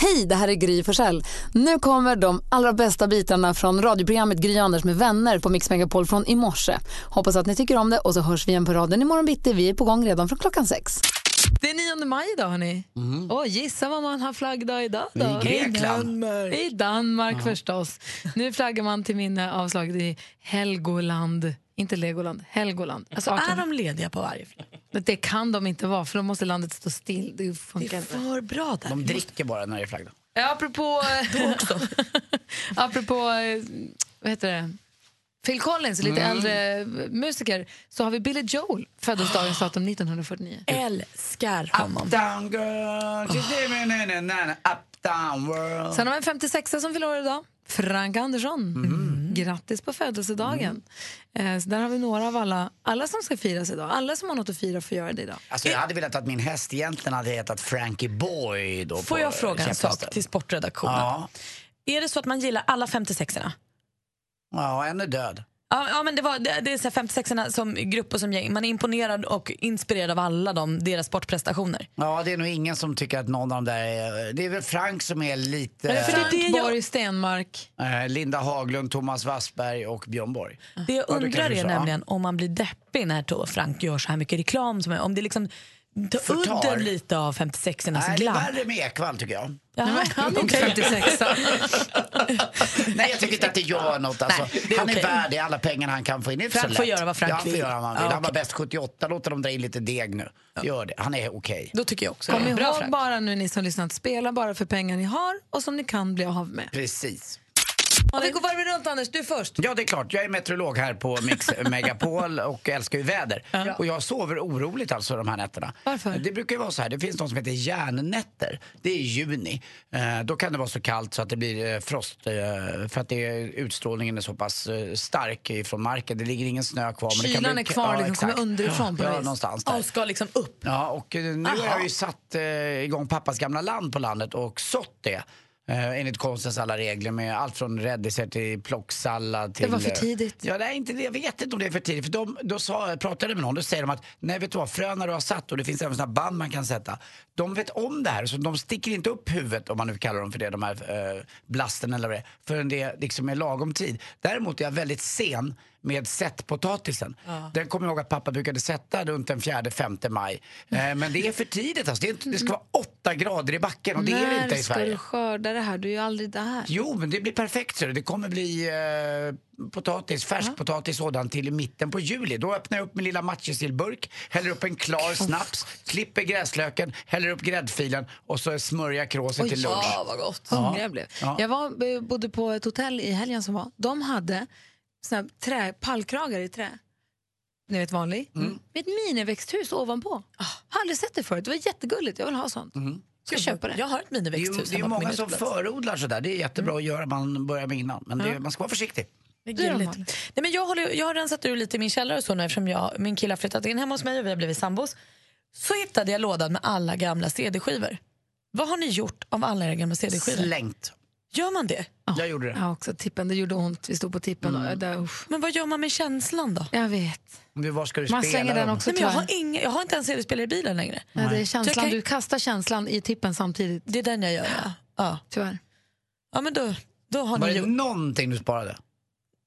Hej, det här är Gry Forssell. Nu kommer de allra bästa bitarna från radioprogrammet Gry Anders med vänner på Mix Megapol från i morse. Hoppas att ni tycker om det och så hörs vi igen på raden imorgon bitti. Vi är på gång redan från klockan sex. Det är 9 maj idag hörni. Åh, gissa vad man har flaggdag idag då? Mhm. I Grekland. I Danmark förstås. Nu flaggar man till minne av slaget i Helgoland. Inte Legoland, Helgoland. Alltså, Så är 18... de lediga på varje flagg? Det kan de inte vara för då måste landet stå still. Det Det funkar är inte. för bra där. De dricker bara när det är flaggdag. Ja, Apropå... apropå eh, vad heter det? Phil Collins, lite Mm. äldre musiker, så har vi Billy Joel, födelsedagens datum Ah, 1949. Älskar honom. Uptown girl, she's living in a nana, uptown world. Sen har vi en 56 som fyller år idag. Frank Andersson. Mm. Grattis på födelsedagen. Eh, så där har vi några av alla, alla som ska firas idag. Alla som har något att fira får göra det idag. Alltså jag hade velat att min häst egentligen hade hetat Frankie Boy då Får på jag fråga en käpphästen. sak till sportredaktionen? Ja. Är det så att man gillar alla 56orna? ja, en är död. Ja, ja, men det, var, det, det är så här 56orna som grupp och som gäng. Man är imponerad och inspirerad av alla dem, deras sportprestationer. Ja, det är nog ingen som tycker att någon av dem där är... Det är väl Frank som är Men lite... för det- Frank jag- Borg Stenmark. eh, Linda Haglund, Thomas Wassberg och Björn Borg. Det jag Ja, det undrar kanske är är så, ja. nämligen om man blir deppig när Tor Frank gör så här mycket reklam. Som, är- om det liksom tar Förtar. udden lite av 56ornas Nej, det är glam. värre med Ekwall tycker jag. Jaha, Nej, men han är inte okej. 56. Nej, jag tycker inte att det gör något. Alltså, Nej, det är han är okej. värd det, alla pengarna han kan få in. Det är inte Frank så lätt. får göra vad Frank ja, han får vill. göra vad han vill. Ja, Han var okej. bäst 78, låt dem dra in lite deg nu. Gör det, han är okej. Då tycker jag också Kom det. ihåg Bra, Frank. bara nu ni som lyssnat, spela bara för pengar ni har och som ni kan bli av med. Precis. Och vi går varvet runt Anders, du först. Ja, det är klart. Jag är meteorolog här på Mix Megapol och älskar ju väder. Och jag sover oroligt alltså de här nätterna. Varför? Det brukar ju vara så här, det finns något som heter järnnätter. Det är i juni. Eh, då kan det vara så kallt så att det blir eh, frost eh, för att det, är- utstrålningen är så pass eh, stark ifrån marken. Det ligger ingen snö kvar. det Kylan bli- är kvar, liksom, exakt. kommer underifrån på ja, något vis. någonstans där. De ska liksom upp. Ja, och eh, nu har jag ju satt eh, igång pappas gamla land på landet och sått det. Eh, enligt konstens alla regler med allt från rädisor till plocksallad till... var för eh, tidigt. Ja, nej, inte det. Jag vet inte om det är för tidigt. För de, då sa, pratade jag med någon, då säger de att nej vet du vad, fröna du har satt och det finns även sådana band man kan sätta. De vet om det här så de sticker inte upp huvudet, om man nu kallar dem för det, de här eh, blasten eller vad det är, förrän det liksom är lagom tid. Däremot är jag väldigt sen med sättpotatisen. Den kommer jag ihåg att pappa brukade sätta runt den 4-5 maj. Eh, men det är för tidigt alltså. Det, är inte, det ska vara 8 grader i backen och det är det inte När i ska du Sverige. skörda det här? Du är ju aldrig där. Jo, men det blir perfekt. ser du. Det kommer bli eh, potatis, färskpotatis sådan till i mitten på juli. Då öppnar jag upp min lilla matjessillburk, häller upp en klar snaps, klipper gräslöken, häller upp gräddfilen och så smörjer jag kråset till lunch. Ja, vad gott. Hungrig jag blev. Ja. Jag var, eh, bodde på ett hotell i helgen som var. De hade såna här trä, pallkragar i trä. Ni vet vanlig. Mm. Mm. Med ett miniväxthus ovanpå. Ah, Har aldrig sett det förut. Det var jättegulligt. Jag vill ha sånt. Ska jag köpa det? Jag har ett Mm. Det är ju, miniväxthus det är ju hemma på många min som uteplats. förodlar sådär. Det är jättebra att göra, man börjar med innan. Men det, man ska vara försiktig. Det är Du då, gulligt. Malin? Nej, men jag, håller, jag har rensat ur lite i min källare och så nu eftersom jag, min kille har flyttat in hemma hos mig och vi har blivit sambos. Så hittade jag lådan med alla gamla CD-skivor. Vad har ni gjort av alla era gamla CD-skivor? Slängt. Gör man det? Jag gjorde det. Ja, också tippen. Det gjorde ont. Vi stod på tippen. Mm. Och, där, usch. Men vad gör man med känslan då? Jag vet. Men Var ska du Man spela slänger den dem? också Nej, men jag, tyvärr. har inga, jag har inte en CD-spelare i bilen längre. Ja, det är Så känslan. jag kan- Du kastar känslan i tippen samtidigt. Det är den jag gör. Ja, ja. Tyvärr. ja men då, då har Var ni det gjort. någonting du sparade?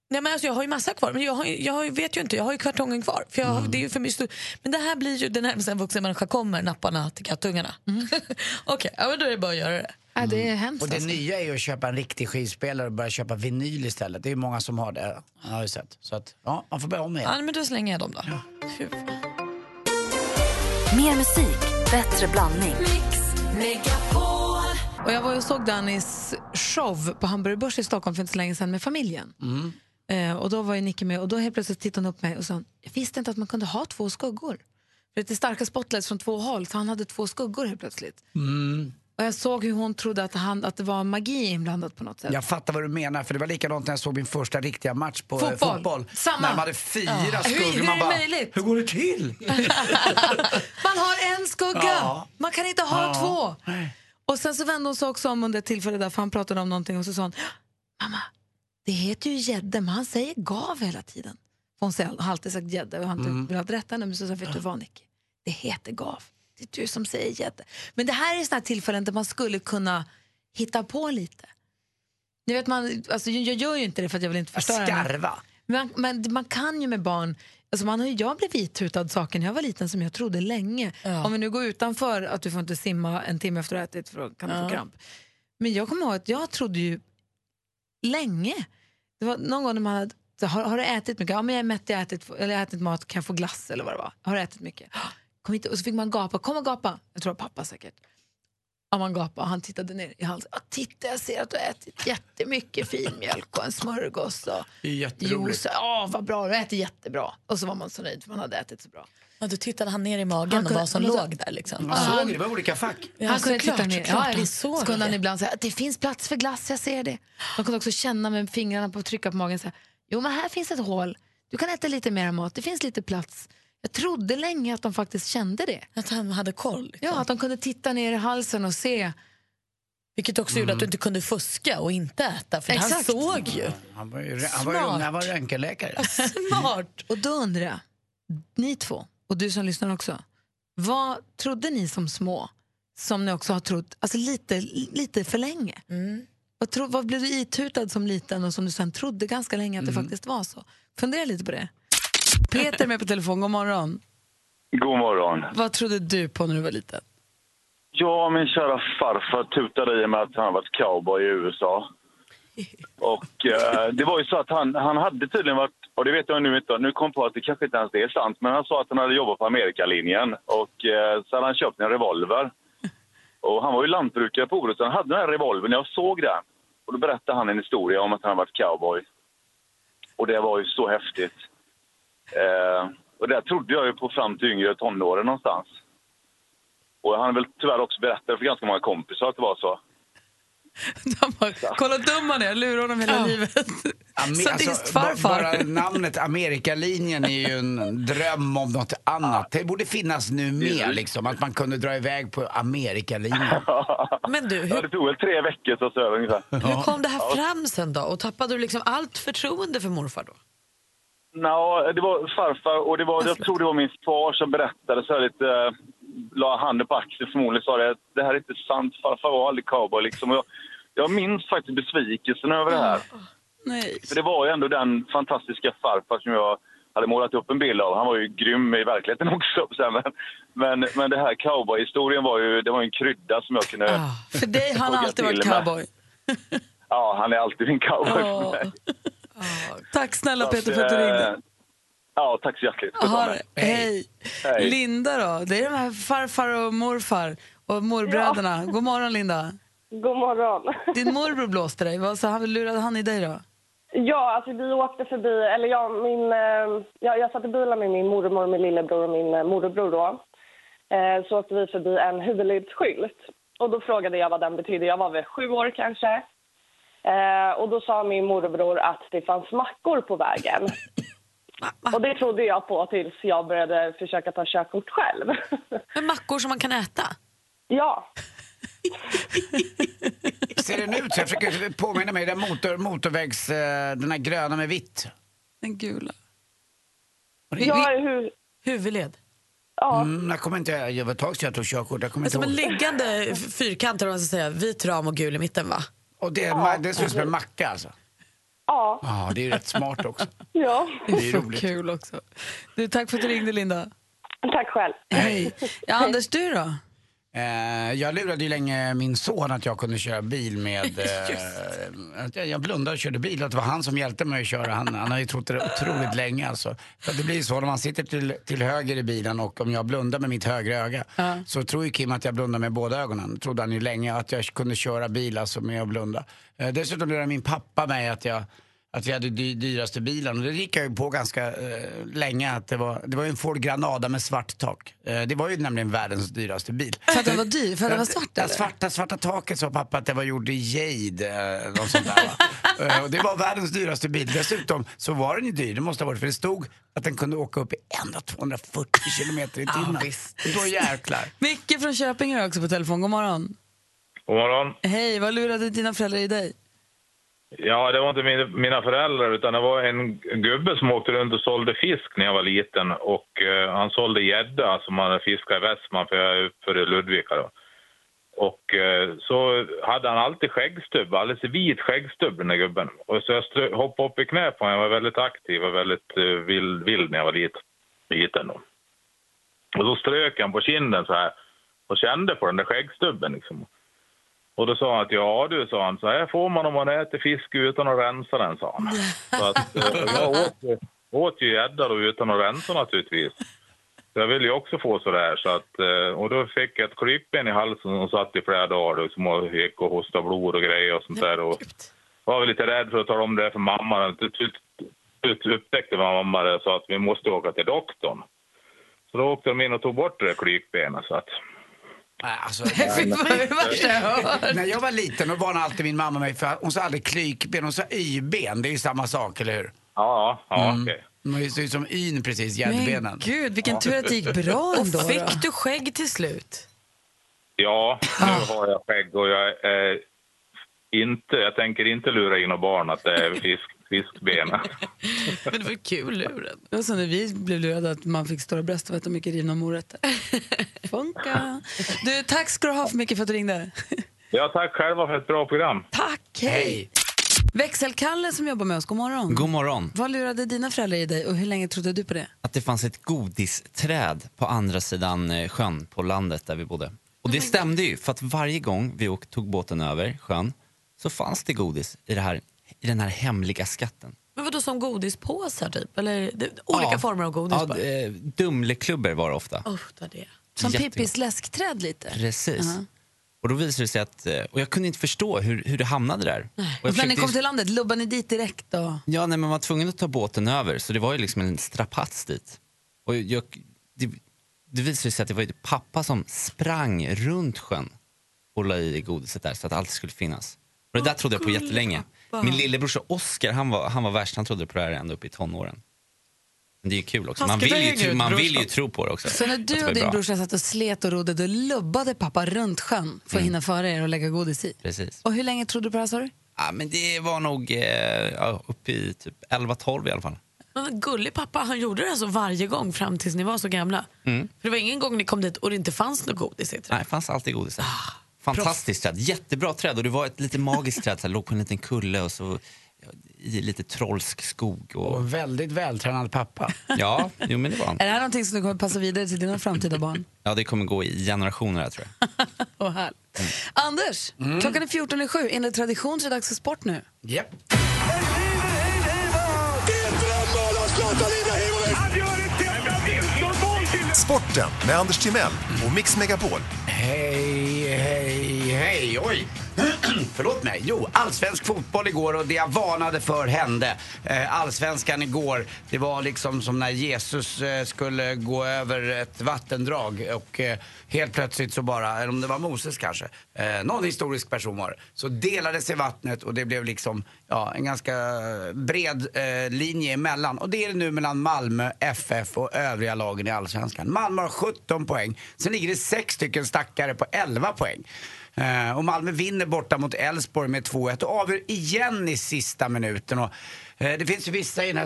Nej, men alltså, jag har ju massa kvar, men jag, har, ju- jag har ju- vet ju inte. Jag har ju kartongen kvar. För jag, har- det är ju för mycket stor, men det här blir ju den närmaste en vuxen människa kommer, napparna till kattungarna. Okej, ja, men då är det bara att göra det. Ja, det är hemskt. Mm. Och det alltså. nya är ju att köpa en riktig skivspelare och börja köpa vinyl istället. Det är ju många som har det. Jag har ju sett. Så att, ja, man får börja om igen. Ja, men då slänger jag dem då. Fy fan. Mer musik, bättre blandning. Och jag var och såg Dannys show på Hamburger Börs i Stockholm för inte så länge sedan med familjen. Mm. Eh, och då var ju Nicky med och då helt plötsligt tittade hon upp mig och sa jag visste inte att man kunde ha två skuggor. För det är starka spotlights från två håll så han hade två skuggor helt plötsligt. Mm. Och jag såg hur hon trodde att, han, att det var magi inblandat på något sätt. Jag fattar vad du menar, för det var likadant när jag såg min första riktiga match på eh, Fotboll. fotboll. Samma. När man hade fyra skuggor. hur är man det bara, möjligt? Hur går det till? Man har en skugga! Ja. Man kan inte ha Ja. två! Och sen så vände hon sig också om under ett tillfälle där för han pratade om någonting och så sa hon Mamma, det heter ju gädda men han säger gav hela tiden. För hon säger, har alltid sagt gädda och jag har Mm. inte velat rätta henne men så sa jag, vet du vad Nicky? Det heter gav. Det är du som säger gädda. Men det här är sådana tillfällen där man skulle kunna hitta på lite. Ni vet man, alltså, jag jag gör ju inte det för att jag vill inte förstöra. men- Skarva. Men, men man kan ju med barn... Alltså man har, ju- jag blev vitrutad saker när jag var liten som jag trodde länge. Ja. Om vi nu går utanför att du får inte simma en timme efter att du har ätit för då kan du Ja. få kramp. Men jag kommer ihåg att jag trodde ju länge. Det var någon gång när man hade, så, har, har du ätit mycket? Ja men jag är mätt, jag har ätit, eller jag har ätit mat, kan jag få glass eller vad det var? Har du ätit mycket? "Ah, Kom hit. Och så fick man gapa, kom och gapa. Jag tror det var pappa säkert. Ja, man gapade och han tittade ner i halsen. Ja, titta jag ser att du har ätit jättemycket finmjölk och en smörgås. Och Det är jätteroligt. Juice, ja vad bra, du äter jättebra. Och så var man så nöjd för man hade ätit så bra. Ja, då tittade han ner i magen och kunde- vad som han- låg där. Liksom. Man såg det, det var olika fack. Ja, han kunde såklart, titta ner. såklart, han visst. såg så kunde han det. ibland säga att det finns plats för glass, jag ser det. Man kunde också känna med fingrarna på trycka på magen. Så här, jo men här finns ett hål, du kan äta lite mer mat, det finns lite plats. Jag trodde länge att de faktiskt kände det. Att han hade koll. Liksom. Ja, att de kunde titta ner i halsen och se. Vilket också gjorde att du inte kunde fuska och inte äta. För han Exakt. såg ju. Han var ju, han var ju, han var röntgenläkare. Smart! Och då undrar jag, ni två och du som lyssnar också, vad trodde ni som små som ni också har trott alltså lite, lite för länge? Vad, tro, vad blev du itutad som liten och som du sen trodde ganska länge att det faktiskt var så? Fundera lite på det. Peter är med på telefon, god morgon. God morgon. Vad trodde du på när du var liten? Ja, min kära farfar tutade i mig att han varit cowboy i USA. Och eh, det var ju så att han, han hade tydligen varit, och det vet jag nu inte, nu kom jag på att det kanske inte ens det är sant, men han sa att han hade jobbat på Amerikalinjen och eh, så hade han köpt en revolver. Och han var ju lantbrukare på Orust, han hade den här revolvern, jag såg den. Och då berättade han en historia om att han hade varit cowboy. Och det var ju så häftigt. Eh, och det där trodde jag ju på fram till yngre tonåren någonstans. Och han har väl tyvärr också berättat för ganska många kompisar att det var så. Kolla dum han är, lurar honom hela livet. Ame- alltså, Sadistfarfar. alltså, ba- bara namnet Amerikalinjen är ju en dröm om något annat. Det borde finnas nu mer, liksom, att man kunde dra iväg på Amerikalinjen. Men du, Ja, hur, det tog väl tre veckor så så ungefär. hur kom det här fram sen då? Och tappade du liksom allt förtroende för morfar då? Nå, det var farfar och det var, jag tror det var min far som berättade så här lite, eh, la handen på axeln förmodligen sa det att det här är inte sant, farfar var aldrig cowboy liksom. Och jag, jag minns faktiskt besvikelsen över det här. Nej. För det var ju ändå den fantastiska farfar som jag hade målat upp en bild av. Han var ju grym i verkligheten också. så här, Men, men, men det här cowboyhistorien var ju, det var ju en krydda som jag kunde... För dig har Ah. han Tugga alltid varit till med. cowboy. Ja, han är alltid min cowboy Ja. för mig. Tack snälla Peter för att du eh, ringde. Ja, tack så hjärtligt. Ha det. Hej. Hej. Linda då, det är de här farfar och morfar och morbröderna. God morgon Linda. God morgon. Din morbror blåste dig, vad sa han, lurade han i dig då? Ja, alltså vi åkte förbi, eller jag, min, eh, jag, jag satt i bilen med min mormor, min lillebror och min eh, morbror då. Eh, så åkte vi förbi en huvudledsskylt. Och då frågade jag vad den betydde. Jag var väl sju år kanske. Eh, och då sa min morbror att det fanns mackor på vägen. Och det trodde jag på tills jag började försöka ta körkort själv. Men mackor som man kan äta? ja, Ser den ut så? Jag försöker påminna mig. Den motor, motorvägs... eh, Den här gröna med vitt. Den gula. jag är hur... Huvudled? Ja, Mm, jag kommer inte... Jag var ett tag sedan jag tog körkort. Jag kommer inte Som en ihåg. liggande f- fyrkant, eller vad man ska säga. Vit ram och gul i mitten, va? Och det, är ma- det ser ut som en macka, alltså. ja, Ja, det är ju rätt smart också. ja. Det är ju Så roligt. kul också. Du, tack för att du ringde Linda. Tack själv. Hej. Ja, Anders, du då? Eh, jag lurade ju länge min son att jag kunde köra bil med... Eh, att jag, jag blundade och körde bil, att det var han som hjälpte mig att köra. Han, han har ju trott det otroligt länge alltså. För att det blir ju så när man sitter till, till höger i bilen och om jag blundar med mitt högra öga så tror ju Kim att jag blundar med båda ögonen. Det trodde han ju länge, att jag kunde köra bil alltså med att blunda. Eh, dessutom lurade min pappa mig att jag att vi hade dy- dyraste bilen och det gick jag ju på ganska eh, länge att det var, det var ju en Ford Granada med svart tak. Eh, det var ju nämligen världens dyraste bil. För att den var dyr, för att den var svart Det eller? svarta, svarta taket sa pappa att det var gjort i jade. eh, Något sånt där, va? Eh, och det var världens dyraste bil. Dessutom så var den ju dyr, det måste ha varit för det stod att den kunde åka upp i ända 240 kilometer i timmen. Och då jäklar. Micke från Köping är också på telefon, god morgon. God morgon. Hej, vad lurade dina föräldrar i dig? Ja, det var inte min, mina föräldrar utan det var en gubbe som åkte runt och sålde fisk när jag var liten. Och eh, han sålde gädda som han hade fiskat i Västman för jag är uppför i Ludvika då. Och eh, så hade han alltid skäggstubb, alldeles vit skäggstubb den där gubben. Och så jag strö- hoppade upp i knä på honom, jag var väldigt aktiv och väldigt eh, vild, vild när jag var lit- liten. Då. Och så strök han på kinden så här och kände på den där skäggstubben. Liksom. Och då sa han att ja du, sa han, så här får man om man äter fisk utan att rensa den, sa han. Så att, eh, och jag åt, ju- åt ju gädda då utan att rensa naturligtvis. Så jag ville ju också få sådär. Så att, eh, och då fick jag ett klippben i halsen som satt i flera dagar liksom, och gick och hostade blod och grejer och sånt där. Och var väl lite rädd för att tala om det här för mamma. Till slut- till slut typ upptäckte mamma det och sa att vi måste åka till doktorn. Så då åkte de in och tog bort det där klypbenet. Så att, Nej, Alltså, Fy fan, det var värsta jag hört. när jag var liten då varnade alltid min mamma mig för hon sa aldrig klykben, hon sa y-ben. Det är ju samma sak, eller hur? Mm. ja, ja, ja okej. Man ser ut som yn precis, Men gäddbenen. gud, vilken tur att det gick bra ändå. Och då. fick du skägg till slut? Ja, nu har jag skägg och jag är inte, jag tänker inte lura in några barn att det är fisk, fiskben. Men det var ju kul luren. Det var som när vi blev lurade att man fick stora bröst och äta mycket rivna morötter. Funka. Du, tack ska du ha för mycket för att du ringde. Ja, tack själva för ett bra program. Tack, Hej! Växelkalle som jobbar med oss, god morgon. God morgon. Vad lurade dina föräldrar i dig och hur länge trodde du på det? Att det fanns ett godisträd på andra sidan eh, sjön på landet där vi bodde. Oh Och det stämde ju, för att varje gång vi åkte, tog båten över sjön så fanns det godis i, det här, i den här hemliga skatten. Men vadå som godispåsar typ? Eller det, olika Ja. former av godis Ja, bara? d- eh, Dumleklubbor var det ofta. Usch, vad det är. Som Jättegott. Pippis läskträd lite. Precis. Uh-huh. Och då visade det sig att, eh, och jag kunde inte förstå hur, hur det hamnade där. Och jag Och när ni försökte kom ju- till landet, lubbade ni dit direkt då? Ja, nej, men man var tvungen att ta båten över, så det var ju liksom en strapats dit. Och jag, det, det visade sig att det var ju pappa som sprang runt sjön och la i godiset där så att allt skulle finnas. Och det där trodde jag på jättelänge. Min lillebrorsa Oscar, han var, han var värst, han trodde på det här ända upp i tonåren. Men det är ju kul också. Han Man ska vill, ju lägga tro, ut man vill ju brorsan. tro på det också. Så när att det du var och din bra. brorsa satt och slet och rodde, då lubbade pappa runt sjön för att hinna före er och lägga godis i. Mm. Precis. Och hur länge trodde du på det här sa du? Ja, men det var nog eh, ja, uppe i typ 11-12 i alla fall. Men gullig pappa, han gjorde det alltså varje gång fram tills ni var så gamla. För det var ingen gång ni kom dit och det inte fanns något godis i Nej, det fanns alltid godis där. Fantastiskt träd, jättebra träd. Och det var ett lite magiskt träd, så här, låg på en liten kulle och så i lite trollsk skog. Och, Och väldigt vältränad pappa. ja, jo, men det var han. Är det här någonting som du kommer passa vidare till dina framtida barn? Ja, det kommer gå i generationer här, tror jag. Och här. Anders, klockan är 14.07. Enligt tradition så är det dags för sport nu. Japp. Sporten med Anders Timell och Mix Megapol. Hej, hej, hej. Oj. Förlåt mig. Jo, allsvensk fotboll igår och det jag varnade för hände. Eh, Allsvenskan igår, det var liksom som när Jesus eh, skulle gå över ett vattendrag och eh, helt plötsligt så bara, eller om det var Moses kanske, eh, någon historisk person var det, så delade sig vattnet och det blev liksom ja, en ganska bred eh, linje emellan. Och det är det nu mellan Malmö, FF och övriga lagen i Allsvenskan. Malmö har 17 poäng, sen ligger det sex stycken stackare på 11 poäng. Eh, och Malmö vinner borta mot Elfsborg med 2-1 och avgör igen i sista minuten. Och, eh, det finns ju vissa i den här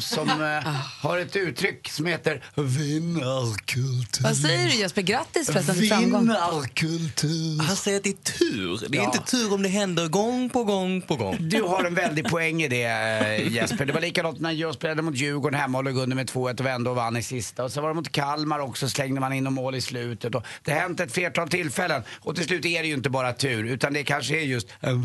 som eh, har ett uttryck som heter vinnarkultur. Vad säger du Jesper? Grattis förresten till framgång. Vinnarkultur. Han säger att det är tur. Det är Ja. inte tur om det händer gång på gång på gång. Du har en väldig poäng i det eh, Jesper. Det var likadant när jag spelade mot Djurgården hemma och låg under med 2-1 och vände och vann i sista. Och så var det mot Kalmar också, slängde man in och mål i slutet. Och det har hänt ett flertal tillfällen. Och till slut är det ju inte bara tur, utan det kanske är just en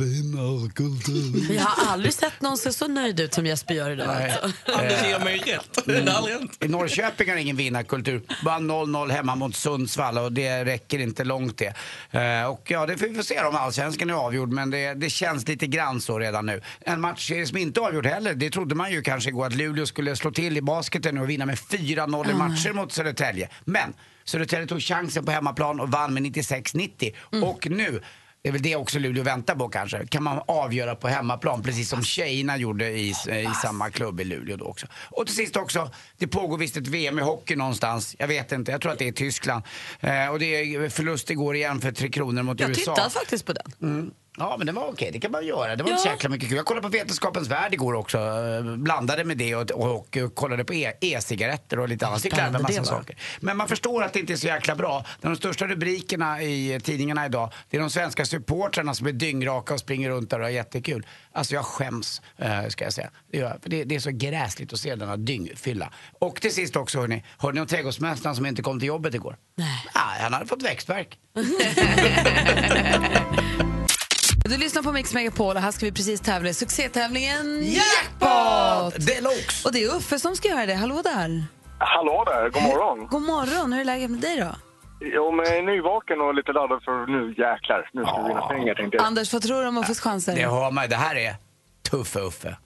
vinnarkultur. Vi har aldrig sett någon se så nöjd ut som Jesper gör idag. Alltså. Anders ger mig rätt. Det har aldrig hänt. Eh, mm. I Norrköping har ingen vinnarkultur. Bara 0-0 hemma mot Sundsvall och det räcker inte långt det. Eh, Och ja, det får vi få se om allsvenskan är avgjord, men det, det känns lite grann så redan nu. En matchserie som inte är avgjord heller, det trodde man ju kanske igår att Luleå skulle slå till i basketen och vinna med 4-0 i matcher mot Södertälje. Men Södertälje tog chansen på hemmaplan och vann med 96-90. Och nu det är väl det också Luleå väntar på kanske. Kan man avgöra på hemmaplan, precis som tjejerna gjorde i, i Alltså. samma klubb i Luleå då också. Och till sist också, det pågår visst ett VM i hockey någonstans. Jag vet inte, jag tror att det är Tyskland. Eh, och det är förlust igår igen för Tre Kronor mot Jag USA. Mm. tittade faktiskt på den. Ja, men det var okej. Det kan man göra. Det var inte så jäkla mycket kul. Jag kollade på Vetenskapens Värld igår också. eh, Blandade med det och, och, och, kollade på e- e-cigaretter och lite annat. Fick lära mig Spännande massa det var. saker. Men man förstår att det inte är så jäkla bra. De största rubrikerna i tidningarna idag, det är de svenska supportrarna som är dyngraka och springer runt där och har jättekul. Alltså jag skäms, eh, ska jag säga. Det, gör jag. För det, det är så gräsligt att se denna dyngfylla. Och till sist också, hörni. Hörde ni om trädgårdsmästaren som inte kom till jobbet igår? Nej. han hade fått växtverk. Du lyssnar på Mix Megapol och här ska vi precis tävla i succétävlingen Jackpot! Deluxe! Och det är Uffe som ska göra det. Hallå där! Hallå där, god morgon. God morgon, hur är läget med dig då? Jo, men jag är nyvaken och lite laddad för nu jäklar, nu ska vi vinna pengar tänkte jag. Anders, vad tror du om Uffes chanser? Ah. Det hör man ju. Det här är tuffe Uffe.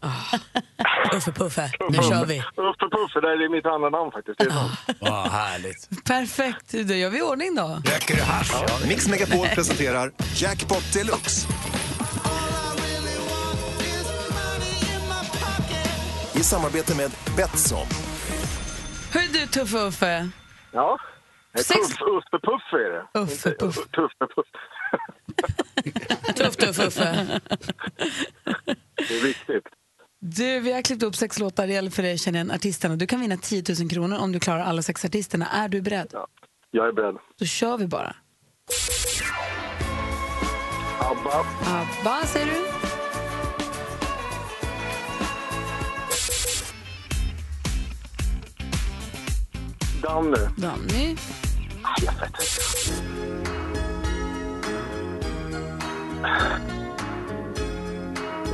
Uffe Puffe, nu kör vi. Uffe Puffe, det är mitt andra namn faktiskt. Det är sant. Vad Ah. härligt. Perfekt, då gör vi i ordning då. Röker du hasch? Ja. Mix Megapol presenterar Jackpot Deluxe. I samarbete med Betsson. Hur är du Tuffe Uffe? Ja. Sex- Puff, Uffe Puff är det. Uffe Puff. Tuffe Puff. Tuff, tuff, Uffe. Det är viktigt. Du, vi har klippt upp sex låtar, det gäller för dig att känna igen artisterna. Du kan vinna 10 000 kronor om du klarar alla sex artisterna. Är du beredd? Ja. Jag är beredd. Då kör vi bara. ABBA, ABBA säger du? Danny, Danny?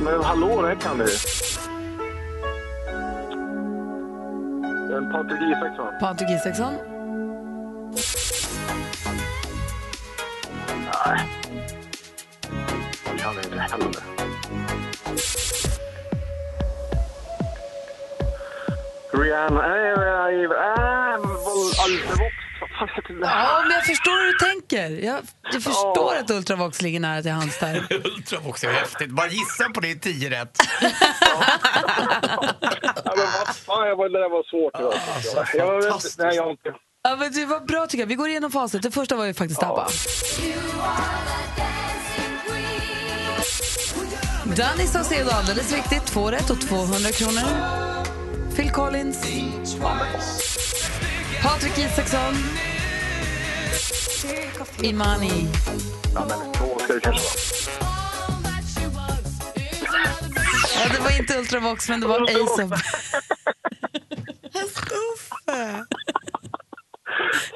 Men hallå, det här kan du. En Patrik Isaksson. Patrik Isaksson? Kan jag inte heller. Rihanna... Nej, nej, nej. Ah, Vol- Alvevox. Vad fan heter det? Ja, men jag förstår hur du tänker. Jag, jag förstår att Ultravox ligger nära till hands där. Ultravox är häftigt. Bara gissa på det i tio rätt. Ja, men alltså, vad fan, jag var, det där var svårt. det var svårt. Alltså, jag vet inte. fantastiskt. Nej, jag har inte... Ja, men det var bra tycker jag. Vi går igenom facit. Det första var ju faktiskt ABBA. Danny Saucedo, alldeles riktigt. Två rätt och 200 kronor. Phil Collins. Patrik Isaksson. Imani. Ja, men två ska det kanske vara. Ja, det var inte Ultravox, men det var Ace of...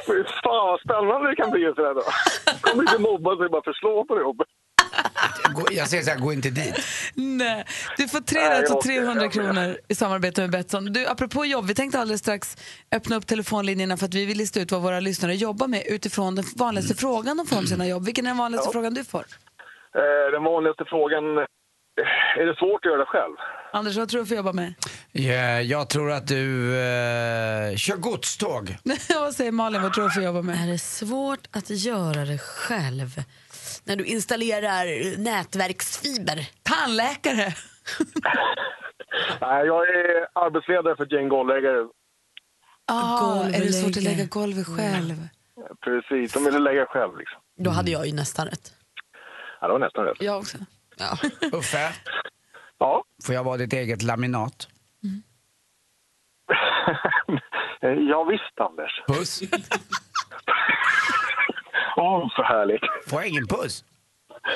Fy fan, vad spännande det kan bli en sån här dag. Kommer inte mobba sig, bara förslå på det jobbet. Gå- Jag säger så här, gå inte dit. Nej, du får Nej, 3 jag rätt och orkar 300 inte. kronor i samarbete med Betsson. Du, apropå jobb, vi tänkte alldeles strax öppna upp telefonlinjerna för att vi vill lista ut vad våra lyssnare jobbar med utifrån den Mm. vanligaste frågan de får om sina jobb. Vilken är den vanligaste frågan du får? Eh, den vanligaste frågan... eh, Är det svårt att göra det själv? Anders, vad tror du får jobba med? Ja, jag tror att du eh, kör godståg. vad säger Malin, vad tror du får jobba med? Är det svårt att göra det själv? När du installerar nätverksfiber? Tandläkare! Nej, jag är arbetsledare för ett gäng golvläggare. Ah, är det svårt att Golvläggare. lägga golvet själv? Precis, de ville lägga själv liksom. Då hade jag ju nästan rätt. Ja, det var nästan rätt. Jag också. Ja. Uffe, Ja. får jag vara ditt eget laminat? Eh, ja visst, Anders. Puss. Åh, så härligt. Får jag ingen puss?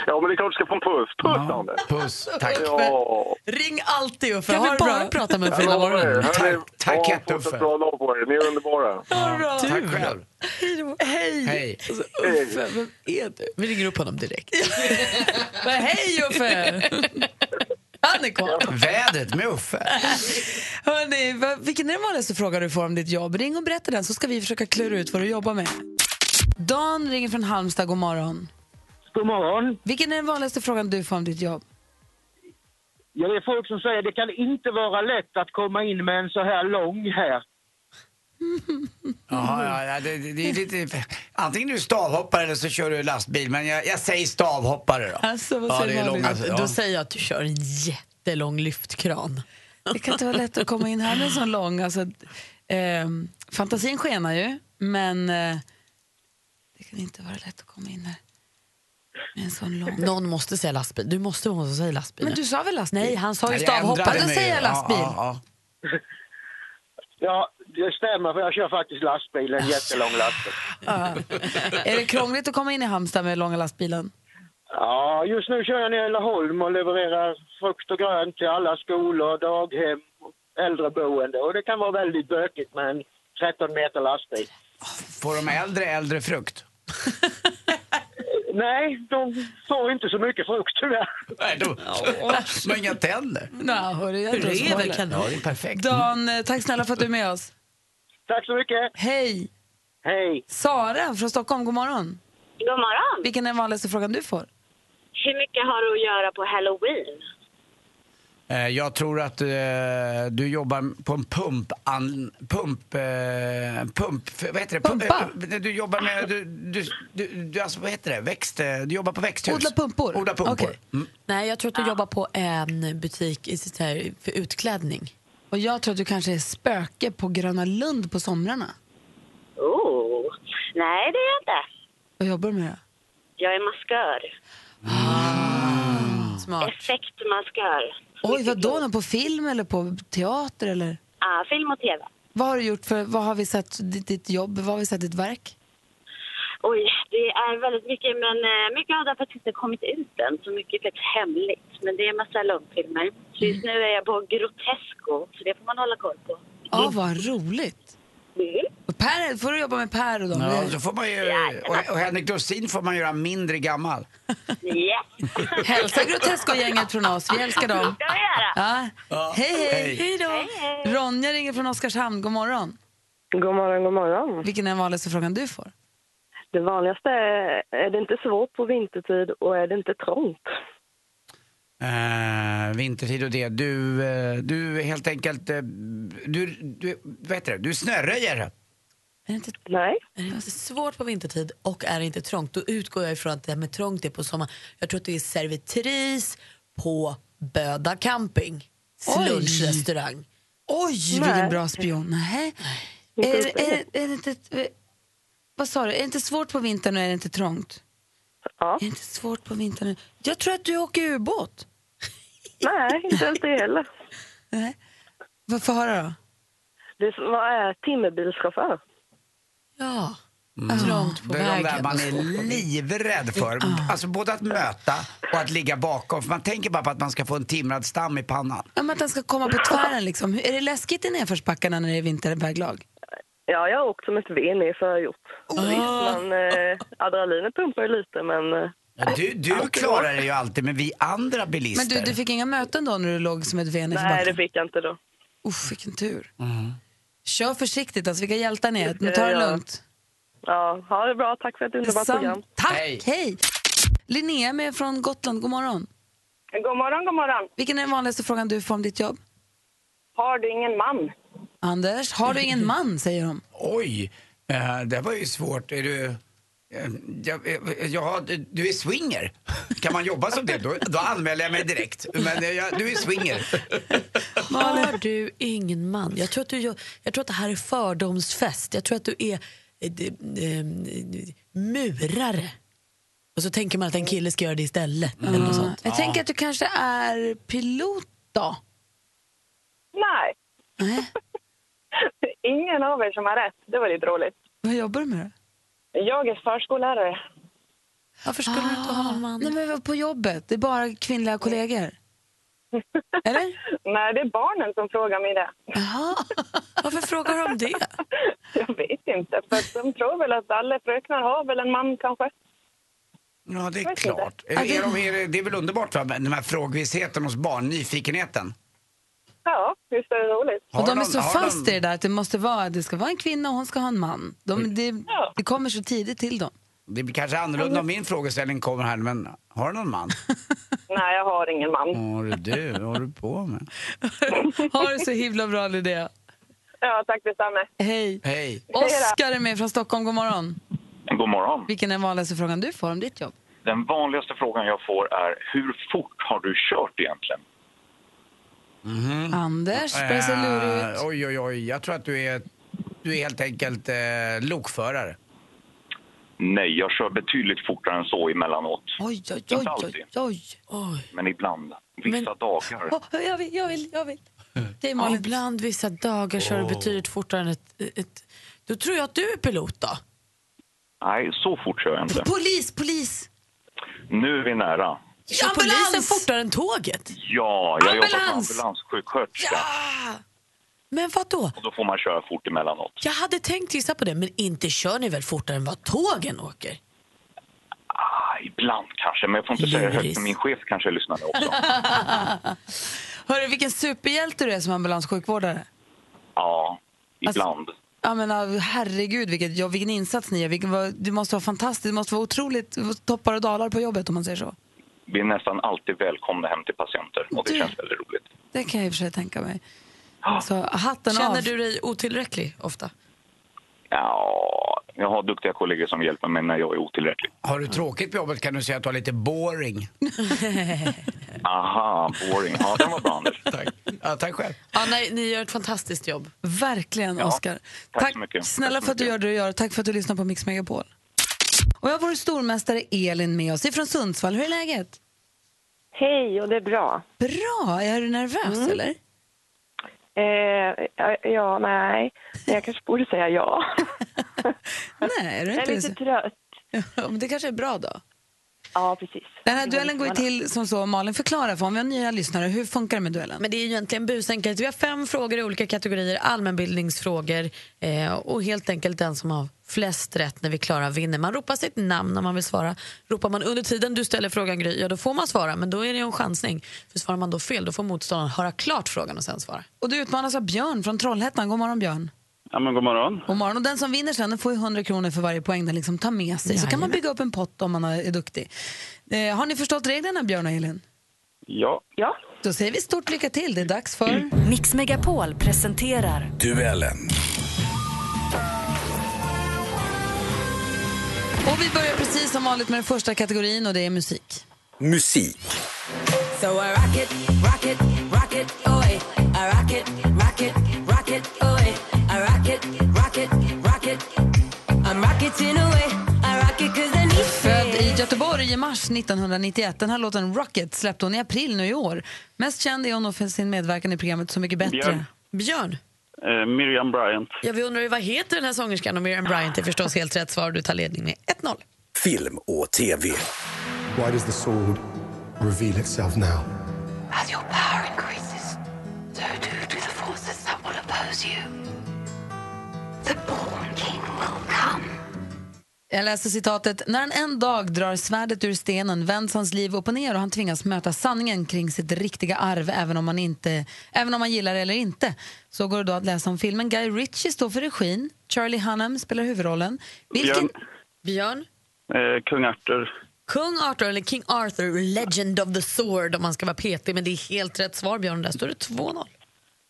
Ja, men det är klart du ska få en puss. Puss, Ja, Anders. Puss, tack. Ja. Ring alltid Uffe. Kan ha det vi bara bra. prata med Jag Frida lovar er, morgon? här är- Tack- tack, Ja, Jätte fortsätt Uffe. bra dag på er. Ni är underbara. Tack själv. Hej! Hej. Uffe, vem är du? Vi ringer upp honom direkt. Men hej Uffe! Han är kvar. Vädret med Uffe. Hörrni, vad- vilken är den vanligaste frågan du får om ditt jobb? Ring och berätta den så ska vi försöka klura ut vad du jobbar med. Dan ringer från Halmstad, god morgon. God morgon. Vilken är den vanligaste frågan du får om ditt jobb? Ja, det är folk som säger det kan inte vara lätt att komma in med en så här lång här. Jaha, ja, ja, det, det är lite... Antingen är du stavhoppare eller så kör du lastbil. Men jag, jag säger stavhoppare då. Alltså, vad ja, säger det är Malin? långa, ja. Då säger jag att du kör en jättelång lyftkran. Det kan inte vara lätt att komma in här med en sån lång. Alltså, ehm, fantasin skenar ju, men eh, det kan inte vara lätt att komma in här. En sån lång. Någon måste säga lastbil. Du måste vara någon som säger lastbil. Men du sa väl lastbil? Nej, han sa ju Nej, jag ändrar stavhoppare. det Då nu. säger jag lastbil. Ja, ja, Ja, det stämmer för jag kör faktiskt lastbil, en jättelång lastbil. Är det krångligt att komma in i Halmstad med långa lastbilen? Ja, just nu kör jag ner i Laholm och levererar frukt och grönt till alla skolor, daghem, äldreboende. Och det kan vara väldigt bökigt med en 13 meter lastbil. ja. Får de äldre äldre frukt? Nej, de får inte så mycket frukt tyvärr. Nej, då... De har inga tänder. Mm. Nej, hörru, jag tror Reven spoiler. kan- Ja, det är perfekt. Dan, eh, tack snälla för att du är med oss. Tack så mycket. Hej! Hej! Sara från Stockholm, god morgon. God morgon! Vilken är den vanligaste frågan du får? Hur mycket har du att göra på halloween? Eh, Jag tror att eh, du jobbar på en pump... An, pump... Eh, pump... för- Vad heter det? Pu- Pumpa. eh, Du jobbar med... Du, du, du, du, alltså, vad heter det? Växt... eh, Du jobbar på växthus. Odla pumpor. Odla pumpor. Okej. Mm. Nej, jag tror Ah. att du jobbar på en butik i sitt här, för utklädning. Och jag tror att du kanske är spöke på Gröna Lund på somrarna. Oh. Nej, det är jag inte. Vad jobbar du med då? Jag är maskör. Smart. Effektmaskör. Oj, vadå? Någon på film eller på teater eller? Ah, film och tv. Vad har du gjort för, vad har vi sett ditt, ditt jobb, vad har vi sett ditt verk? Oj, det är väldigt mycket, men eh, mycket har faktiskt inte kommit ut än. Så mycket är faktiskt hemligt. Men det är en massa långfilmer. Så just nu är jag på Grotesco, så det får man hålla koll på. Ja, vad roligt. Och per, får du jobba med Per och dem? Ja, eller? så får man ju, och, och Henrik Dorsin får man göra mindre gammal. Yes! Hälsa Grotesco-gänget från oss, vi älskar Det dem. ska jag göra. Ja. Hej, hej! Hej. Hej då! Ronja ringer från Oskarshamn, god morgon. God morgon, god morgon. Vilken är den vanligaste frågan du får? Det vanligaste är, är det inte svårt på vintertid och är det inte trångt? Eh, vintertid och det. Du, eh, du är helt enkelt... eh, du, du, vad heter det? Du snöröjer. Är det, inte, Nej. är det inte svårt på vintertid och är det inte trångt? Då utgår jag ifrån att det här med trångt är på sommaren. Jag tror att det är servitris på Böda camping. Oj. Lunchrestaurang. Oj, vilken bra spion. Nähä. Är, är, är, det inte, eh, vad sa du? Är det inte svårt på vintern och är det inte trångt? Ja. Är det inte svårt på vintern? och- Jag tror att du åker ubåt. Nej, inte ens det heller. Nej. Vad får jag höra då? Det är, vad är timmerbilschaufför? Ja, Mm. trångt på Det är de där vägen. man är livrädd för. Alltså både att möta och att ligga bakom. För man tänker bara på att man ska få en timrad stam i pannan. Ja, men att den ska komma på tvären liksom. Hur- Är det läskigt i nedförsbackarna när det är vinterväglag? Ja, jag har åkt som ett V nerför har jag gjort. Men, eh, adrenalinet pumpar ju lite, men eh, Ja, Du, du klarar det ju alltid, men vi andra bilister... Men du, du fick inga möten då när du låg som ett ven i nej, det backen? fick jag inte då. Uff, vilken tur. Kör försiktigt, alltså, vilka hjältar ni är. Men ta det jag göra. lugnt. Ja, ha det bra. Tack för ett underbart Sam- program. Tack, hej. Hej. Linnea är med från Gotland, god morgon. God morgon, god morgon. Vilken är den vanligaste frågan du får om ditt jobb? Har du ingen man? Anders, har du ingen man, säger de. Oj, eh, det var ju svårt. Är du... eh, Jag, eh, ja, du- du är swinger. Kan man jobba som det? Då, då anmäler jag mig direkt. Men eh, jag, du är swinger. Har du ingen man? Jag tror, att du, gör- jag tror att det här är fördomsfest. Jag tror att du är eh, d- ehm, murare. Och så tänker man att en kille ska göra det istället. Eller något sånt. Mm. Jag tänker att du kanske är pilot då? Nej, Nej. ingen av er som har rätt. Det var lite roligt. Vad jobbar du med då? Jag är förskollärare. Varför skulle du inte ha en man? Ah. Nej, men på jobbet, det är bara kvinnliga kollegor. Eller? Nej, det är barnen som frågar mig det. Jaha. Varför frågar de det? Jag vet inte, för att de tror väl att alla fröknar har väl en man kanske. Ja, det är inte. klart. Är, är de, är, det- det är väl underbart, va? med den här frågvissheten hos barn, nyfikenheten. Ja, visst är det roligt. Har Och de är så har fast i det där att det måste vara, det ska vara en kvinna och hon ska ha en man. De, det, det kommer så tidigt till dem. Det blir kanske annorlunda om min frågeställning kommer här, men har du någon man? Nej, jag har ingen man. Har du? Vad håller du på med? Ha det Mm. så himla bra, Mm. Linnea. Ja, tack detsamma. Hej. Hej. Oskar är med från Stockholm, god morgon. God morgon. Vilken är den vanligaste frågan du får om ditt jobb? Den vanligaste frågan jag får är hur fort har du kört egentligen? Mhm. Anders, börjar se lurig ut. Eh, oj, oj, oj. Jag tror att du är, du är helt enkelt eh, lokförare. Nej, jag kör betydligt fortare än så emellanåt. Oj, oj, oj, Inte oj, alltid, oj, oj. men ibland. Vissa dagar. Åh, jag vill, jag vill, jag vill. Det är ja, ibland vissa dagar kör du betydligt fortare än ett, ett... Då tror jag att du är pilot då. Nej, så fort kör jag inte. Polis, polis! Nu är vi nära. Kör polisen fortare än tåget? Ja, jag jobbar som Ambulans! ambulanssjuksköterska. Men vad då? Och då får man köra fort emellanåt. Jag hade tänkt gissa på det, men inte kör ni väl fortare än vad tågen åker? Ah, ibland kanske, men jag får inte säga det högt. Luris. för Min chef kanske lyssnar nu också. Hörru, vilken superhjälte du är som ambulanssjukvårdare. Ja, Alltså- ibland. Ja, men, ah, herregud, vilket, ja, vilken insats ni gör. Vilken, var- du måste vara fantastisk. Du måste vara otroligt toppar och dalar på jobbet om man säger så. Vi är nästan alltid välkomna hem till patienter och det Du- känns väldigt roligt. Det kan jag i och för sig tänka mig. Så hatten Känner av. du dig otillräcklig ofta? Ja, jag har duktiga kollegor som hjälper mig när jag är otillräcklig. Har du tråkigt på jobbet kan du säga att du har lite boring. Aha, boring. Ja, den var bra Anders. Ja, tack själv. Ja, nej, ni gör ett fantastiskt jobb. Verkligen, Ja, Oscar. tack så mycket. snälla Tack så för att du mycket. gör det du gör. Tack för att du lyssnar på Mix Megapol. Och jag har vår stormästare Elin med oss ifrån Sundsvall. Hur är läget? Hej, och det är bra. Bra! Är du nervös eller? Eh, ja, ja, nej. Men jag kanske borde säga ja. Nej, är du Jag inte är lite trött. Ja, men det kanske är bra då. Ja, precis. Den här duellen går ju till som så, Malin förklara för om vi har nya lyssnare, hur funkar det med duellen? Men det är ju egentligen busenkelt. Vi har fem frågor i olika kategorier, allmänbildningsfrågor eh, och helt enkelt den som har flest rätt när vi klarar vinner. Man ropar sitt namn om man vill svara. Ropar man under tiden du ställer frågan Gry, ja då får man svara men då är det ju en chansning. För svarar man då fel då får motståndaren höra klart frågan och sen svara. Och du utmanas av Björn från Trollhättan. God morgon Björn. Ja, men god morgon. God morgon. Och den som vinner sen den får ju 100 kronor för varje poäng den liksom tar med sig. Så kan man bygga upp en pott om man är duktig. Eh, har ni förstått reglerna Björn och Elin? Ja. Ja. Då säger vi stort lycka till. Det är dags för... Mm. Mix Megapol presenterar Duellen. Och vi börjar precis som vanligt med den första kategorin och det är musik. Musik. So I rock it, rock it, rock it, away. I rock it, rock it, rock it, away. I rock it, rock it, rock it. I'm rocketing away. I rock it cause I Född need i Göteborg i mars 1991. Den här låten Rocket släppte hon i april nu i år. Mest känd är hon nog för sin medverkan i programmet Så mycket bättre. Björn. Björn? Eh, Miriam Bryant. Ja, vi undrar ju vad heter den här sångerskan och Miriam Bryant är förstås helt rätt svar. Du tar ledning med 1-0. Film och tv. Why does the sword reveal itself now? As your power increases, so do do the forces that will oppose you. The born king will come. Jag läser citatet. När han en dag drar svärdet ur stenen vänds hans liv upp och ner och han tvingas möta sanningen kring sitt riktiga arv även om man, inte, även om man gillar det eller inte. Så går det då att läsa om filmen. Guy Ritchie står för regin. Charlie Hunnam spelar huvudrollen. Vilken... Björn. Björn? Eh, Kung Arthur. Kung Arthur, eller King Arthur, Legend of the Sword om man ska vara petig. Men det är helt rätt svar, Björn. Där står det 2-0.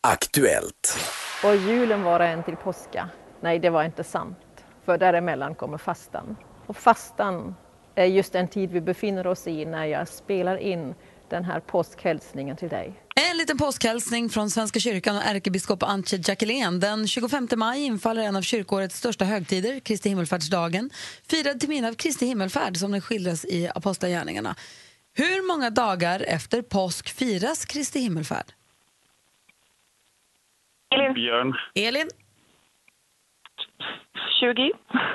Aktuellt. Och julen vara en till påska? Nej, det var inte sant. För däremellan kommer fastan. Och fastan är just den tid vi befinner oss i när jag spelar in den här påskhälsningen till dig. En liten påskhälsning från Svenska kyrkan och ärkebiskop Antje Jackelén. Den 25 maj infaller en av kyrkårets största högtider, Kristi himmelfärdsdagen. Firad till minne av Kristi himmelfärd som den skildras i Apostlagärningarna. Hur många dagar efter påsk firas Kristi himmelfärd? Björn. Elin? 20.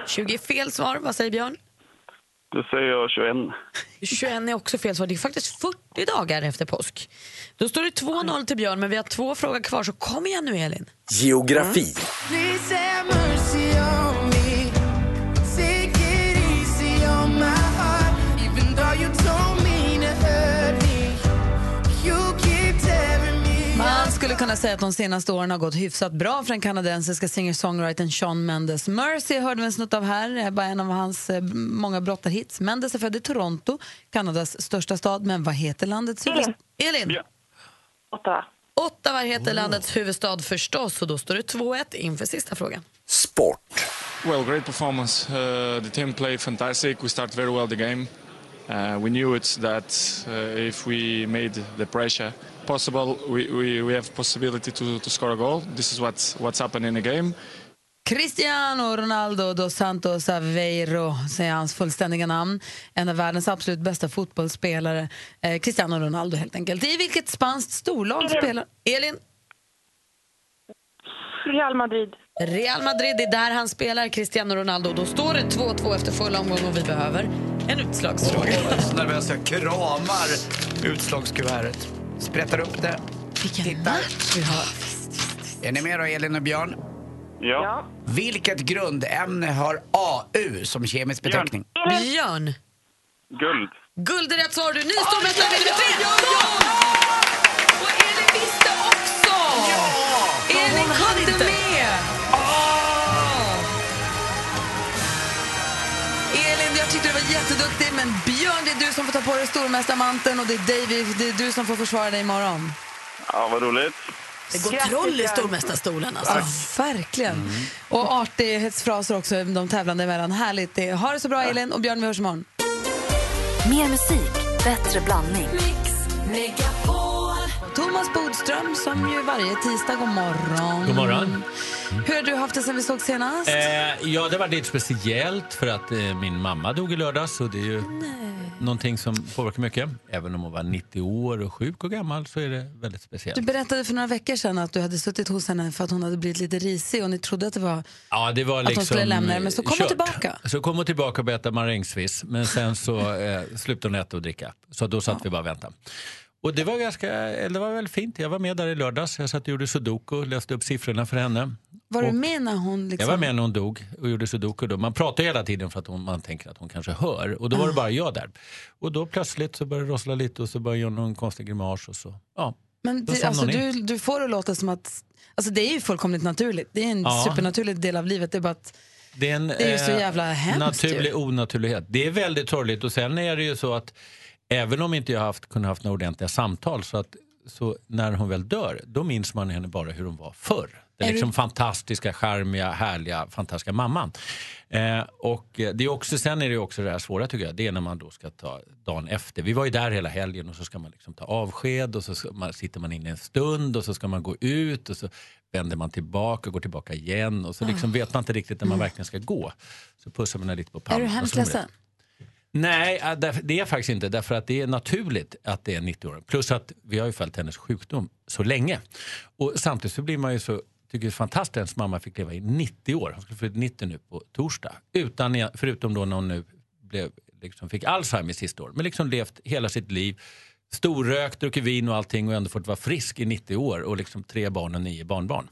20 är fel svar. Vad säger Björn? Då säger jag 21. 21 är också fel svar. Det är faktiskt 40 dagar efter påsk. Då står det 2-0 till Björn, men vi har två frågor kvar. Så kom igen nu, Elin. Geografi. Please have mercy on me. Take it easy on my heart. Even though you told me to hurt me, you keep tearing me. Man skulle kunna säga att de senaste åren har gått hyfsat bra för den kanadensiska singer-songwritern Sean Mendes. Mercy hörde vi en snutt av här, det är bara en av hans eh, många brottarhits. Mendes är född i Toronto, Kanadas största stad. Men vad heter landets huvudstad? Elin! Ottawa. Ottawa heter landets huvudstad förstås och då står det 2-1 inför sista frågan. Sport. Well, great performance. Uh, the team played fantastic. We start very well the game. Uh, we knew it that uh, if we made the pressure possible, we, we, we have possibility to, to score a goal. This is what's, what's happened in the game. Cristiano Ronaldo dos Santos Aveiro, säger hans fullständiga namn. En av världens absolut bästa fotbollsspelare. Eh, Cristiano Ronaldo helt enkelt. I vilket spanskt storlag spelar... Elin? Real Madrid. Real Madrid, det är där han spelar, Cristiano Ronaldo. Då står det 2-2 efter full omgång och vi behöver en utslagsfråga. Jag är så nervös, jag kramar utslagskuvertet. Sprättar upp det. Vilken match vi har. Är ni med då, Elin och Björn? Ja. Vilket grundämne har AU som kemisk beteckning? Björn. Guld. Guld är rätt svar du. Ni står med 1-0 vinner med 3-0! Ja! Elin kunde med! Elin, jag tyckte du var jätteduktig, men Björn, det är du som får ta på dig stormästarmanteln och det är, David, det är du som får försvara dig imorgon. Ja, vad roligt. Det går troll i stormästarstolen alltså. Mm. Ja, verkligen. Och artighetsfraser också, de tävlande emellan. Härligt. Det är- Ha det så bra, Elin. Och Björn, vi hörs imorgon. Mer musik, bättre blandning. Thomas Bodström, som ju varje tisdag, god morgon. Mm. God morgon. Hur har du haft det sen vi såg senast? Eh, ja, det var lite speciellt för att eh, min mamma dog i lördags och det är ju någonting som påverkar mycket. Även om hon var 90 år och sjuk och gammal så är det väldigt speciellt. Du berättade för några veckor sedan att du hade suttit hos henne för att hon hade blivit lite risig och ni trodde att det var... Ja, det var Att hon liksom skulle lämna det, men så kom hon kört. tillbaka. Så kom hon tillbaka och berättade marängsviss, men sen så eh, slutade hon äta och dricka. Så då satt vi bara och väntade. Och det var, ganska, eller det var väl fint. Jag var med där i lördags. Jag satt och gjorde sudoku och läste upp siffrorna för henne. Var Och- du med när hon liksom... Jag var med när hon dog och gjorde sudoku. Då. Man pratar ju hela tiden för att hon, man tänker att hon kanske hör. Och då Ah. var det bara jag där. Och då plötsligt så började det rossla lite och så började jag göra någon konstig grimas och så. Ja. Men Då det, somnade alltså, hon du, in. du får det låta som att... Alltså det är ju fullkomligt naturligt. Det är en Ja. supernaturlig del av livet. Det är bara att... Det är, en, eh, Det är ju så jävla hemskt ju. Naturlig onaturlighet. Det är väldigt sorgligt och sen är det ju så att även om inte jag haft, kunde haft några ordentliga samtal så att så när hon väl dör, då minns man henne bara hur hon var förr. Den Är liksom du- fantastiska, charmiga, härliga, fantastiska mamman. Eh, och eh, det är också, sen är det ju också det här svåra tycker jag, det är när man då ska ta dagen efter. Vi var ju där hela helgen och så ska man liksom ta avsked och så ska man, sitter man inne en stund och så ska man gå ut och så vänder man tillbaka och går tillbaka igen och så liksom Ah. vet man inte riktigt när man Mm. verkligen ska gå. Så pussar man henne lite på Är pannan. du och så hemskt kommer det. ledsen? Nej, äh, därför- det är jag faktiskt inte. Därför att det är naturligt att det är 90 år. Plus att vi har ju följt hennes sjukdom så länge. Och samtidigt så blir man ju så, tycker det är fantastiskt att hennes mamma fick leva i 90 år. Hon skulle fyllt 90 nu på torsdag. Utan, e- förutom då när hon nu blev, liksom fick Alzheimer sista år. Men liksom levt hela sitt liv. Storrökt, druckit vin och allting och ändå fått vara frisk i 90 år. Och liksom tre barn och nio barnbarn.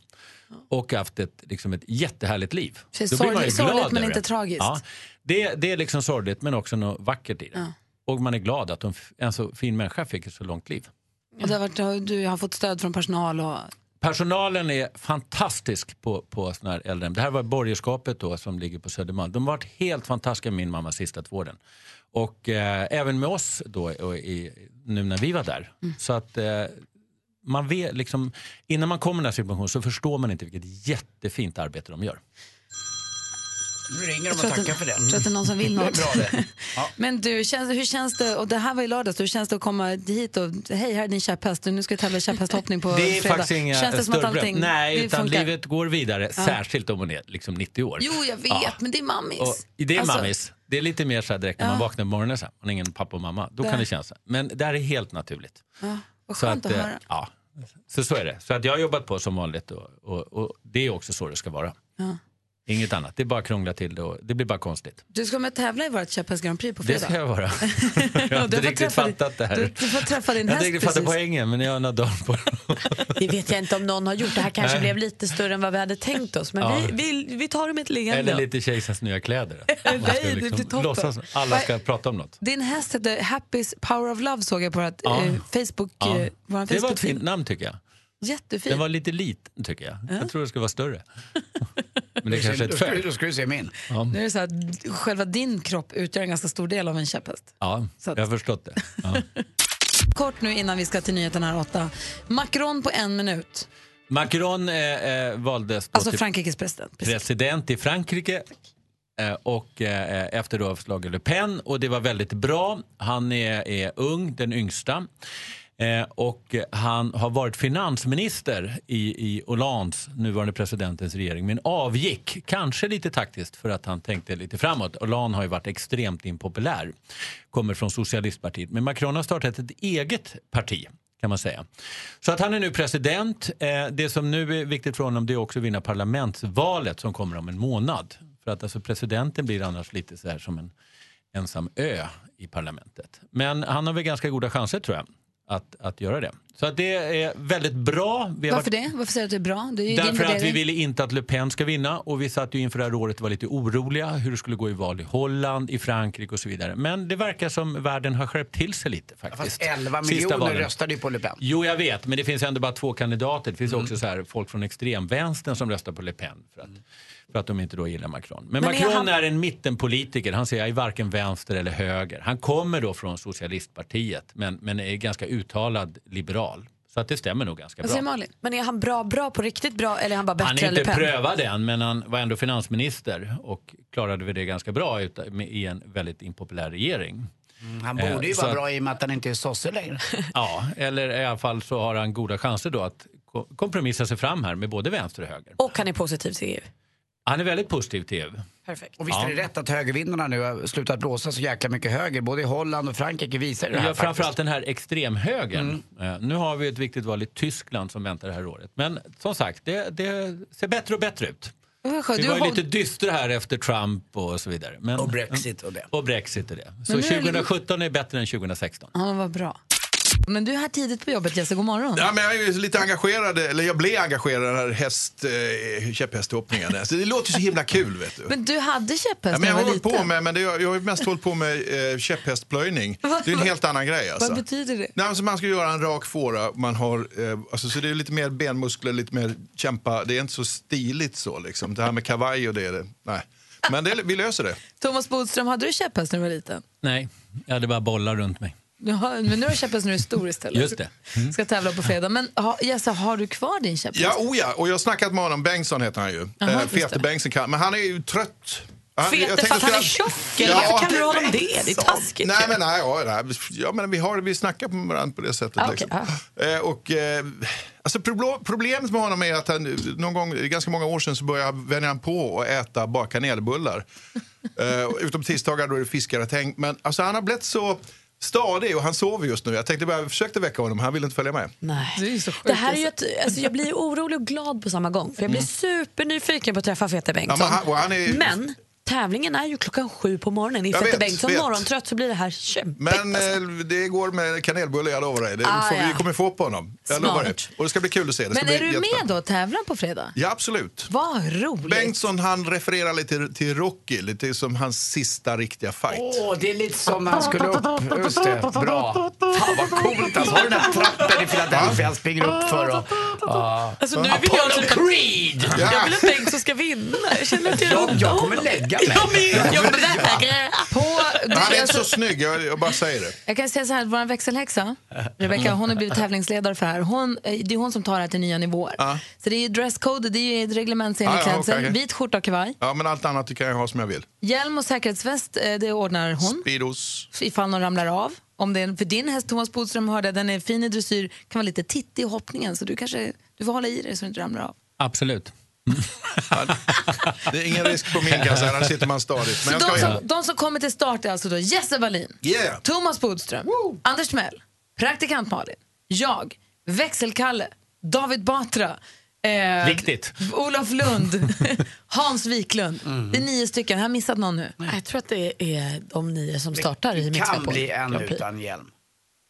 Och haft ett, liksom ett jättehärligt liv. Det är Då blir man ju sorgligt- sorgligt, glad men över inte det. tragiskt. Ja, det, det är liksom sorgligt men också något vackert i det. Ja. Och man är glad att de, en så fin människa fick ett så långt liv. Och det har varit, du har fått stöd från personal och... Personalen är fantastisk på, på sån här äldrehem. Det här var borgerskapet då som ligger på Södermalm. De har varit helt fantastiska min mamma sista två åren. Och eh, även med oss då och i, nu när vi var där. Så att eh, man vet liksom, innan man kommer i den här situationen så förstår man inte vilket jättefint arbete de gör. Nu ringer Jag de tror och att tackar det- för det. jag tror att det är någon som vill något. Det är bra det. Men du, känns, hur känns det, och det här var i lördags, hur känns det att komma hit och hej, här är din käpphäst, nu ska vi tävla i käpphästhoppning på Det är fredag. faktiskt inga känns det som att större allting problem. Nej, det utan funkar? livet går vidare. Ja. Särskilt om hon är liksom 90 år. Jo, jag vet, Ja. men det är mammis. Och det är Alltså, mammis. Det är lite mer så här direkt när Ja. man vaknar på morgonen. Så här. Man har ingen pappa och mamma. Då Det- kan det kännas. så här. Men det här är helt naturligt. Ja, vad skönt så att eh, höra. Ja, så, så är det. Så att jag har jobbat på som vanligt och, och, och det är också så det ska vara. Ja. Inget annat. Det är bara att krångla till det och det blir bara konstigt. Du ska med och tävla i vårt käpphäst Grand Prix på fredag. Det ska jag vara. jag har inte får riktigt träffa din- fattat det här. du- du får träffa din jag häst har inte riktigt fattat precis. poängen men jag har några dagar på Det vet jag inte om någon har gjort. Det här kanske Nej. blev lite större än vad vi hade tänkt oss. Men Ja. vi, vi, vi tar det med ett leende. Eller lite kejsarens nya kläder. Man ska liksom Nej, det blir toppen. låtsas, alla ska prata om något. Din häst heter Happy's Power of Love såg jag på vårt Ja. eh, Facebook. Ja. Eh, våran Det var Facebook ett fint namn tycker jag. Jättefin. Den var lite liten tycker jag. Jag tror det skulle vara större. Men det Då kanske är ska- ett då ska- fel. Då ska du se min. Ja, Nu är det så att själva din kropp utgör en ganska stor del av en käpphäst. ja jag har förstått det. Ja. Kort nu innan vi ska till nyheten här åtta. Macron på en minut, Macron eh, eh, valdes då alltså till Frankrikes president. president i Frankrike. Eh, och eh, efter då förslaget Le Pen och det var väldigt bra. Han är, är ung, den yngsta. Eh, och han har varit finansminister i, i Hollands, nuvarande presidentens regering, men avgick, kanske lite taktiskt, för att han tänkte lite framåt. Hollande har ju varit extremt impopulär, kommer från socialistpartiet. Men Macron har startat ett eget parti, kan man säga. Så att han är nu president. Eh, det som nu är viktigt för honom det är också att vinna parlamentsvalet som kommer om en månad. För att alltså presidenten blir annars lite så här som en ensam ö i parlamentet. Men han har väl ganska goda chanser tror jag att, att göra det. Så att det är väldigt bra. Vi har Varför varit- det? Varför säger du att det är bra? Det är ju din Därför att vi värdering. ville inte att Le Pen ska vinna och vi satt ju inför det här året och var lite oroliga hur det skulle gå i val i Holland, i Frankrike och så vidare. Men det verkar som världen har skärpt till sig lite faktiskt. Fast 11 Sista miljoner valen. röstade ju på Le Pen. Jo, jag vet, men det finns ändå bara två kandidater. Det finns Mm. också så här, folk från extremvänstern som röstar på Le Pen för att, för att de inte då gillar Macron. Men, Men är Macron är, han- en mittenpolitiker. Han säger jag är varken vänster eller höger. Han kommer då från socialistpartiet, men, men är ganska uttalad liberal. Så att det stämmer nog ganska bra. Men är han bra, bra på riktigt bra eller är han bara bättre Han är än Le inte Pen? prövad än, men han var ändå finansminister och klarade väl det ganska bra ut, med, i en väldigt impopulär regering. Mm, Han Eh, borde ju så vara att- bra i och med att han inte är sosse längre. Ja, eller i alla fall så har han goda chanser då att ko- kompromissa sig fram här med både vänster och höger. Och han är positiv till EU. Han är väldigt positiv till EU. Perfekt. Och visst är det rätt att högervindarna nu har slutat blåsa så jäkla mycket höger. Både i Holland och Frankrike visar det här Ja, faktiskt. framförallt den här extremhögern. Mm. Eh, Nu har vi ett viktigt val i Tyskland som väntar det här året. Men som sagt, det, det ser bättre och bättre ut. Det var skönt. Vi Du var ju har- lite dystra här efter Trump och så vidare. Men, och Brexit och det. Och Brexit och det. Så Men nu är det- 2017 är bättre än 2016. Ja, vad bra. Men du är här tidigt på jobbet, Jesse. God morgon. Ja, men jag är ju lite engagerad, eller jag blev engagerad i den här häst, eh, käpphästhoppningen. Så det låter ju så himla kul vet du. Men du hade käpphäst Ja, men jag när har du var hållit på liten. med, men det, jag har ju mest hållit på med eh, käpphästplöjning. Det är en helt annan grej alltså. Vad betyder det? Nej, men så man ska göra en rak fåra, man har, eh, alltså, så det är lite mer benmuskler, lite mer kämpa. Det är inte så stiligt så liksom. Det här med kavaj och det, är det nej. Men det, vi löser det. Thomas Bodström, hade du käpphäst när du var liten? Nej, jag hade bara bollar runt mig. Du har, men nu har du käpphäst när du är stor istället. Just det. Mm. Ska tävla på fredag. Men ha, Jesse, har du kvar din käpphäst? Ja, oh ja, och jag har snackat med honom, Bengtsson heter han ju. Jaha, eh, just Fete det. Bengtsson, kan- men han är ju trött. Fete jag för tänkte att han är spela- tjock, eller varför kallar du honom det? Det är taskigt Nej, ju. men nej, ja, nej. Ja, men vi, har, vi snackar med varandra på det sättet. Ah, liksom. okej, eh, och, eh, alltså, problo- problemet med honom är att han, någon gång, ganska många år sedan så började han vänja han på att äta bara kanelbullar. eh, utom tisdagar då är det fiskgratäng. Men alltså, han har blivit så stadig och han sover just nu. Jag tänkte bara, jag försökte väcka honom, han ville inte följa med. Nej. Det är så sjukt. Det här är ju ett, alltså jag blir orolig och glad på samma gång. För jag blir supernyfiken på att träffa Fete Bengtsson. Mm. Ja, men han- och han är ju- Men tävlingen är ju klockan sju på morgonen. Är Jag Fete vet, Bengtsson vet. morgontrött så blir det här kämpigt. Men eh, det går med kanelbulle, jag lovar dig. Det Ah, får, ja. Vi kommer få på honom. Jag Smart. lovar det. Och det ska bli kul att se. Det ska Men bli är du med jättespännande. då? Tävlan på fredag? Ja, absolut. Vad roligt. Bengtsson han refererar lite till, till Rocky, lite som hans sista riktiga fight. Åh, det är lite som när han skulle upp. Just det, bra. Fan vad coolt alltså. Har du den här trappen i Philadelphia han springer upp för och... ja. Alltså, nu vill jag Apollo typ- Creed! Jag vill att Bengtsson ska vinna. Jag känner att Jag- jag jag kommer lägga mig. Jag, jag vägrar. På, alltså, Han är inte så snygg, jag, jag bara säger det. Jag kan säga så här, vår växelhäxa, Rebecca, hon har blivit tävlingsledare för det här. Hon, eh, det är hon som tar det här till nya nivåer. Ja. Så det är ju dresscode, det är ju reglementsenlig Ah, ja, klädsel, okej, okej. vit skjorta och kavaj. Ja, men allt annat kan jag ha som jag vill. Hjälm och säkerhetsväst, eh, det ordnar hon Speedos. ifall någon ramlar av. Om det är, för din häst Thomas Bodström hörde, den är fin i dressyr, kan vara lite tittig i hoppningen så du kanske du får hålla i dig så du inte ramlar av. Absolut. Det är ingen risk på min kasse, annars sitter man stadigt. Men jag De ska som, de som kommer till start är alltså då Jesse Wallin, Yeah. Thomas Bodström, Anders Timell, praktikant Malin, jag, växelkalle, David Batra, eh, Viktigt. Olof Lund, Hans Wiklund. Mm. Det är nio stycken. Har jag missat någon nu? Jag tror att det är de nio som startar i Det Mix kan Megapol. bli en Grand Prix. utan hjälm.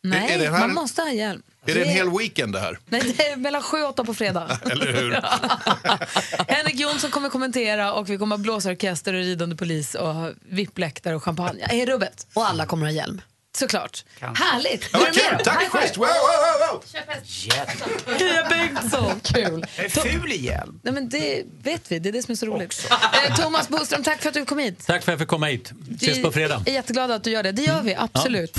Nej, är det här man en- måste ha hjälm. Är det en hel weekend det här? Nej, det är mellan sju och åtta på fredag. Eller hur? Henrik Jonsson kommer kommentera och vi kommer ha blåsorkester och ridande polis och ha vippläktare och champagne. Är rubbet? Och alla kommer ha hjälm. Såklart. Kanske. Härligt! Ja, Hur vad är det kul. med då? Tack, High five. schysst. Wow, wow, wow, wow. Pia Bengtsson, kul. Jag är ful igen. Nej, men det vet vi, det är det som är så roligt. Eh, Thomas Boström, tack för att du kom hit. Tack för att jag fick komma hit. Ses Vi på fredag. Mm. är jätteglada att du gör det. Det gör vi, absolut.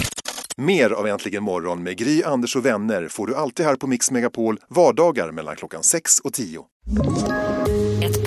Mer av Äntligen morgon med Gry, Anders och vänner får du alltid här på Mix Megapol vardagar mellan klockan 6 och 10. ett